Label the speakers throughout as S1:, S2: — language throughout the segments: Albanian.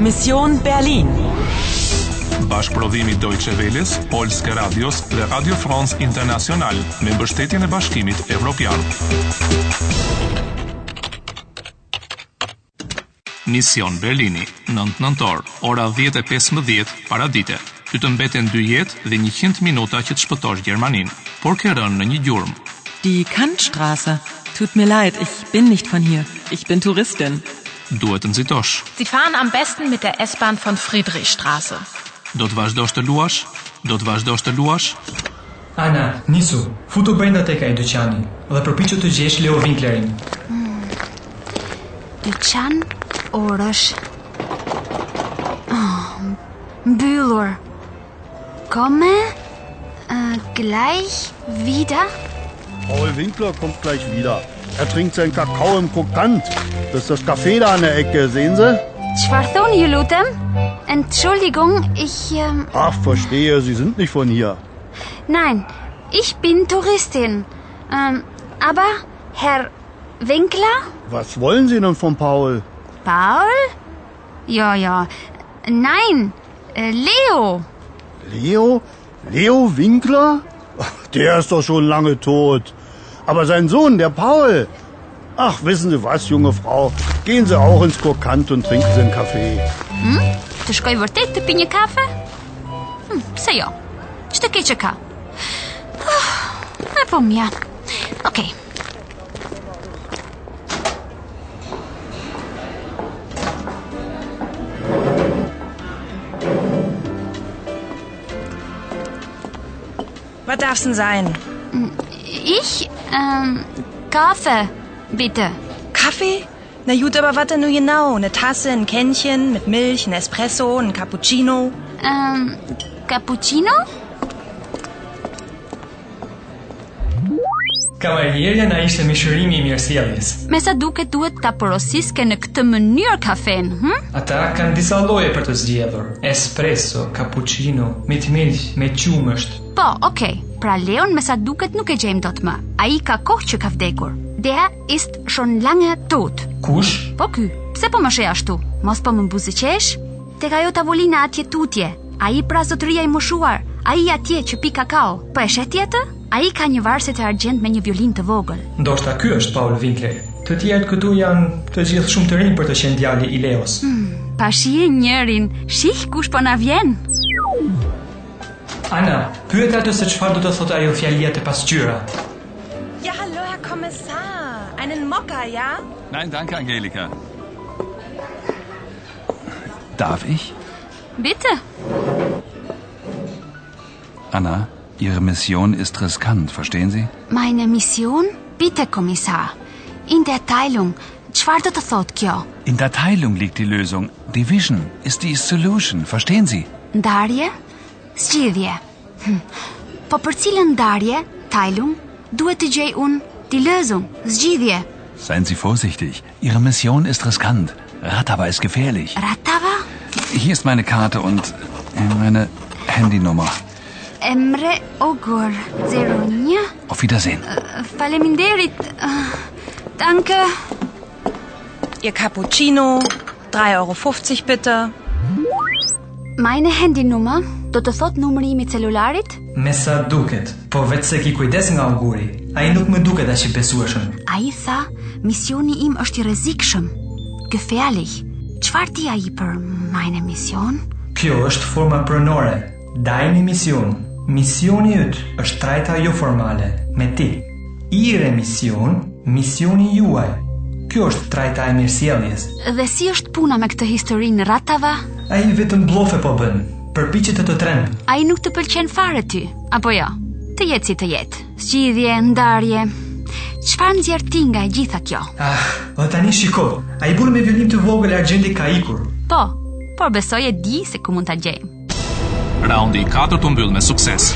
S1: Mission Berlin.
S2: Bashkëprodhimi Deutsche Welles, Polske Radios dhe Radio France International me mbështetjen e Bashkimit Evropian. Mision Berlini, 9 nëntor, ora 10:15 para dite. Ty të mbeten 2 jetë dhe 100 minuta që të shpëtosh Gjermaninë, por ke rënë në një gjurmë.
S1: Die Kantstraße. Tut mir leid, ich bin nicht von hier. Ich bin Touristin.
S2: Duhet të nxitosh.
S3: Sie fahren am besten mit der S-Bahn von Friedrichstraße.
S2: Do të vazhdosh të luash? Do të vazhdosh të luash?
S4: Ana, nisu, futu brenda tek ai dyqani dhe përpiqu të gjesh Leo Winklerin.
S5: Dyqan orësh. Ah, Mbyllur. Komme äh, gleich wieder.
S6: Paul Winkler kommt gleich wieder. Er trinkt seinen Kakao im Krokant. Das ist das Café da an der Ecke, sehen Sie?
S5: Çfarë thoni ju lutem? Entschuldigung, ich ähm,
S6: Ach, verstehe, Sie sind nicht von hier.
S5: nein, ich bin Touristin. Ähm, aber Herr Winkler?
S6: Was wollen Sie denn von Paul?
S5: Paul? Ja, ja. Nein, äh, Leo.
S6: Leo? Leo Winkler? Ach, Der ist doch schon lange tot. Aber sein Sohn, der Paul. Ach, wissen Sie was, junge Frau? Gehen Sie auch ins Krokant und trinken Sie einen Kaffee.
S5: Të shkoj vërtet të pi një kafe? Hm, pse jo? Ç'të keqe ka? Ah, e po mja. Okej.
S7: Was darf's denn sein?
S5: Ich ähm Kaffee, bitte.
S7: Kaffee? Na gut, aber was denn nun genau? Eine Tasse, ein Kännchen mit Milch, ein Espresso, ein Cappuccino?
S5: Ähm Cappuccino?
S4: Kavalierja na ishte mishërimi i mirësjelljes.
S5: Me sa duket duhet ta porosiske në këtë mënyrë kafen, hm?
S4: Ata kanë disa lloje për të zgjedhur: espresso, cappuccino, me milk, me qumësht.
S5: Po, okay. Pra Leon me sa duket nuk e gjejmë dot më. Ai ka kohë që ka vdekur. Der ist schon lange tot.
S4: Kush?
S5: Po ky, pse po më shej ashtu? Mos po më mbuziqesh? Tek ajo tavolina atje tutje. Ai pra zotëria i moshuar. Ai atje që pi kakao. Po e sheh ti atë? Ai ka një varse të argjend me një violin të vogël.
S4: Ndoshta ky është Paul Winkler. Të tjerët këtu janë të gjithë shumë të rinj për të qenë djali i Leos.
S5: Pa shije njërin. Shih kush po na vjen.
S4: Ana, pyet atë se çfarë do të thotë ajo fjalia e pasqyra.
S7: Ja, hallo, Herr Kommissar. Einen Mokka, ja?
S8: Nein, danke, Angelika. Darf ich?
S5: Bitte.
S8: Anna, Ihre Mission ist riskant, verstehen Sie?
S5: Meine Mission? Bitte, Kommissar. In der Teilung. Çfarë do të thotë kjo?
S8: In der Teilung liegt die Lösung. Division ist die Solution, verstehen Sie?
S5: Ndarje? Zgjidhje. Hm. Po për cilën ndarje, Teilung, duhet të gjej unë Dilëzum, zgjidhje.
S8: Seien Sie vorsichtig. Ihre Mission ist riskant. Ratava ist gefährlich.
S5: Ratava?
S8: Hier ist meine Karte und äh, meine Handynummer.
S5: Emre Ogur 01
S8: Auf Wiedersehen.
S5: Faleminderit Ah, Danke
S7: Ihr Cappuccino, 3,50 Euro bitte.
S5: Meine Handynummer do të thot numri im i celularit?
S4: Me sa duket, po vetë se ki kujdes nga auguri. Ai nuk më duket as i besueshëm.
S5: Ai tha, misioni im është i rrezikshëm. Gefährlich. Çfarë di ai për meine Mission?
S4: Kjo është forma pronore. Dajni mision. Misioni yt është trajta jo formale, me ti. Ire mision, misioni juaj. Kjo është trajta e mirësjelljes.
S5: Dhe si është puna me këtë historinë ratava?
S4: Ai vetëm blofe po bën. Përpiqet të të tremb.
S5: Ai nuk të pëlqen fare ty, apo jo? Të jetë si të jetë. Zgjidhje, ndarje. Çfarë nxjerr ti nga e gjitha kjo?
S4: Ah, dhe tani shiko. Ai bën me violim të vogël argjendi ka ikur.
S5: Po, por besoj e di se ku mund ta gjejmë.
S2: Raundi i 4 u mbyll me sukses.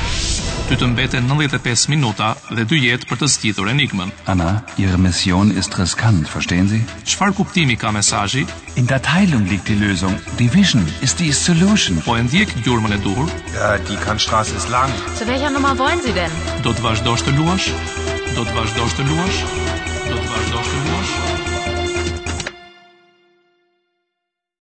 S2: Ty të mbeten 95 minuta dhe 2 jetë për të zgjidhur enigmën.
S8: Anna, Ihre Mission ist riskant, verstehen Sie?
S2: Çfarë kuptimi ka mesazhi?
S8: In der Teilung liegt die Lösung. Division ist die Solution.
S2: Po e ndjek gjurmën e duhur?
S9: Äh, die Kantstraße ist lang.
S3: Zu welcher Nummer wollen Sie denn?
S2: Do të vazhdosh të luash? Do të vazhdosh të luash?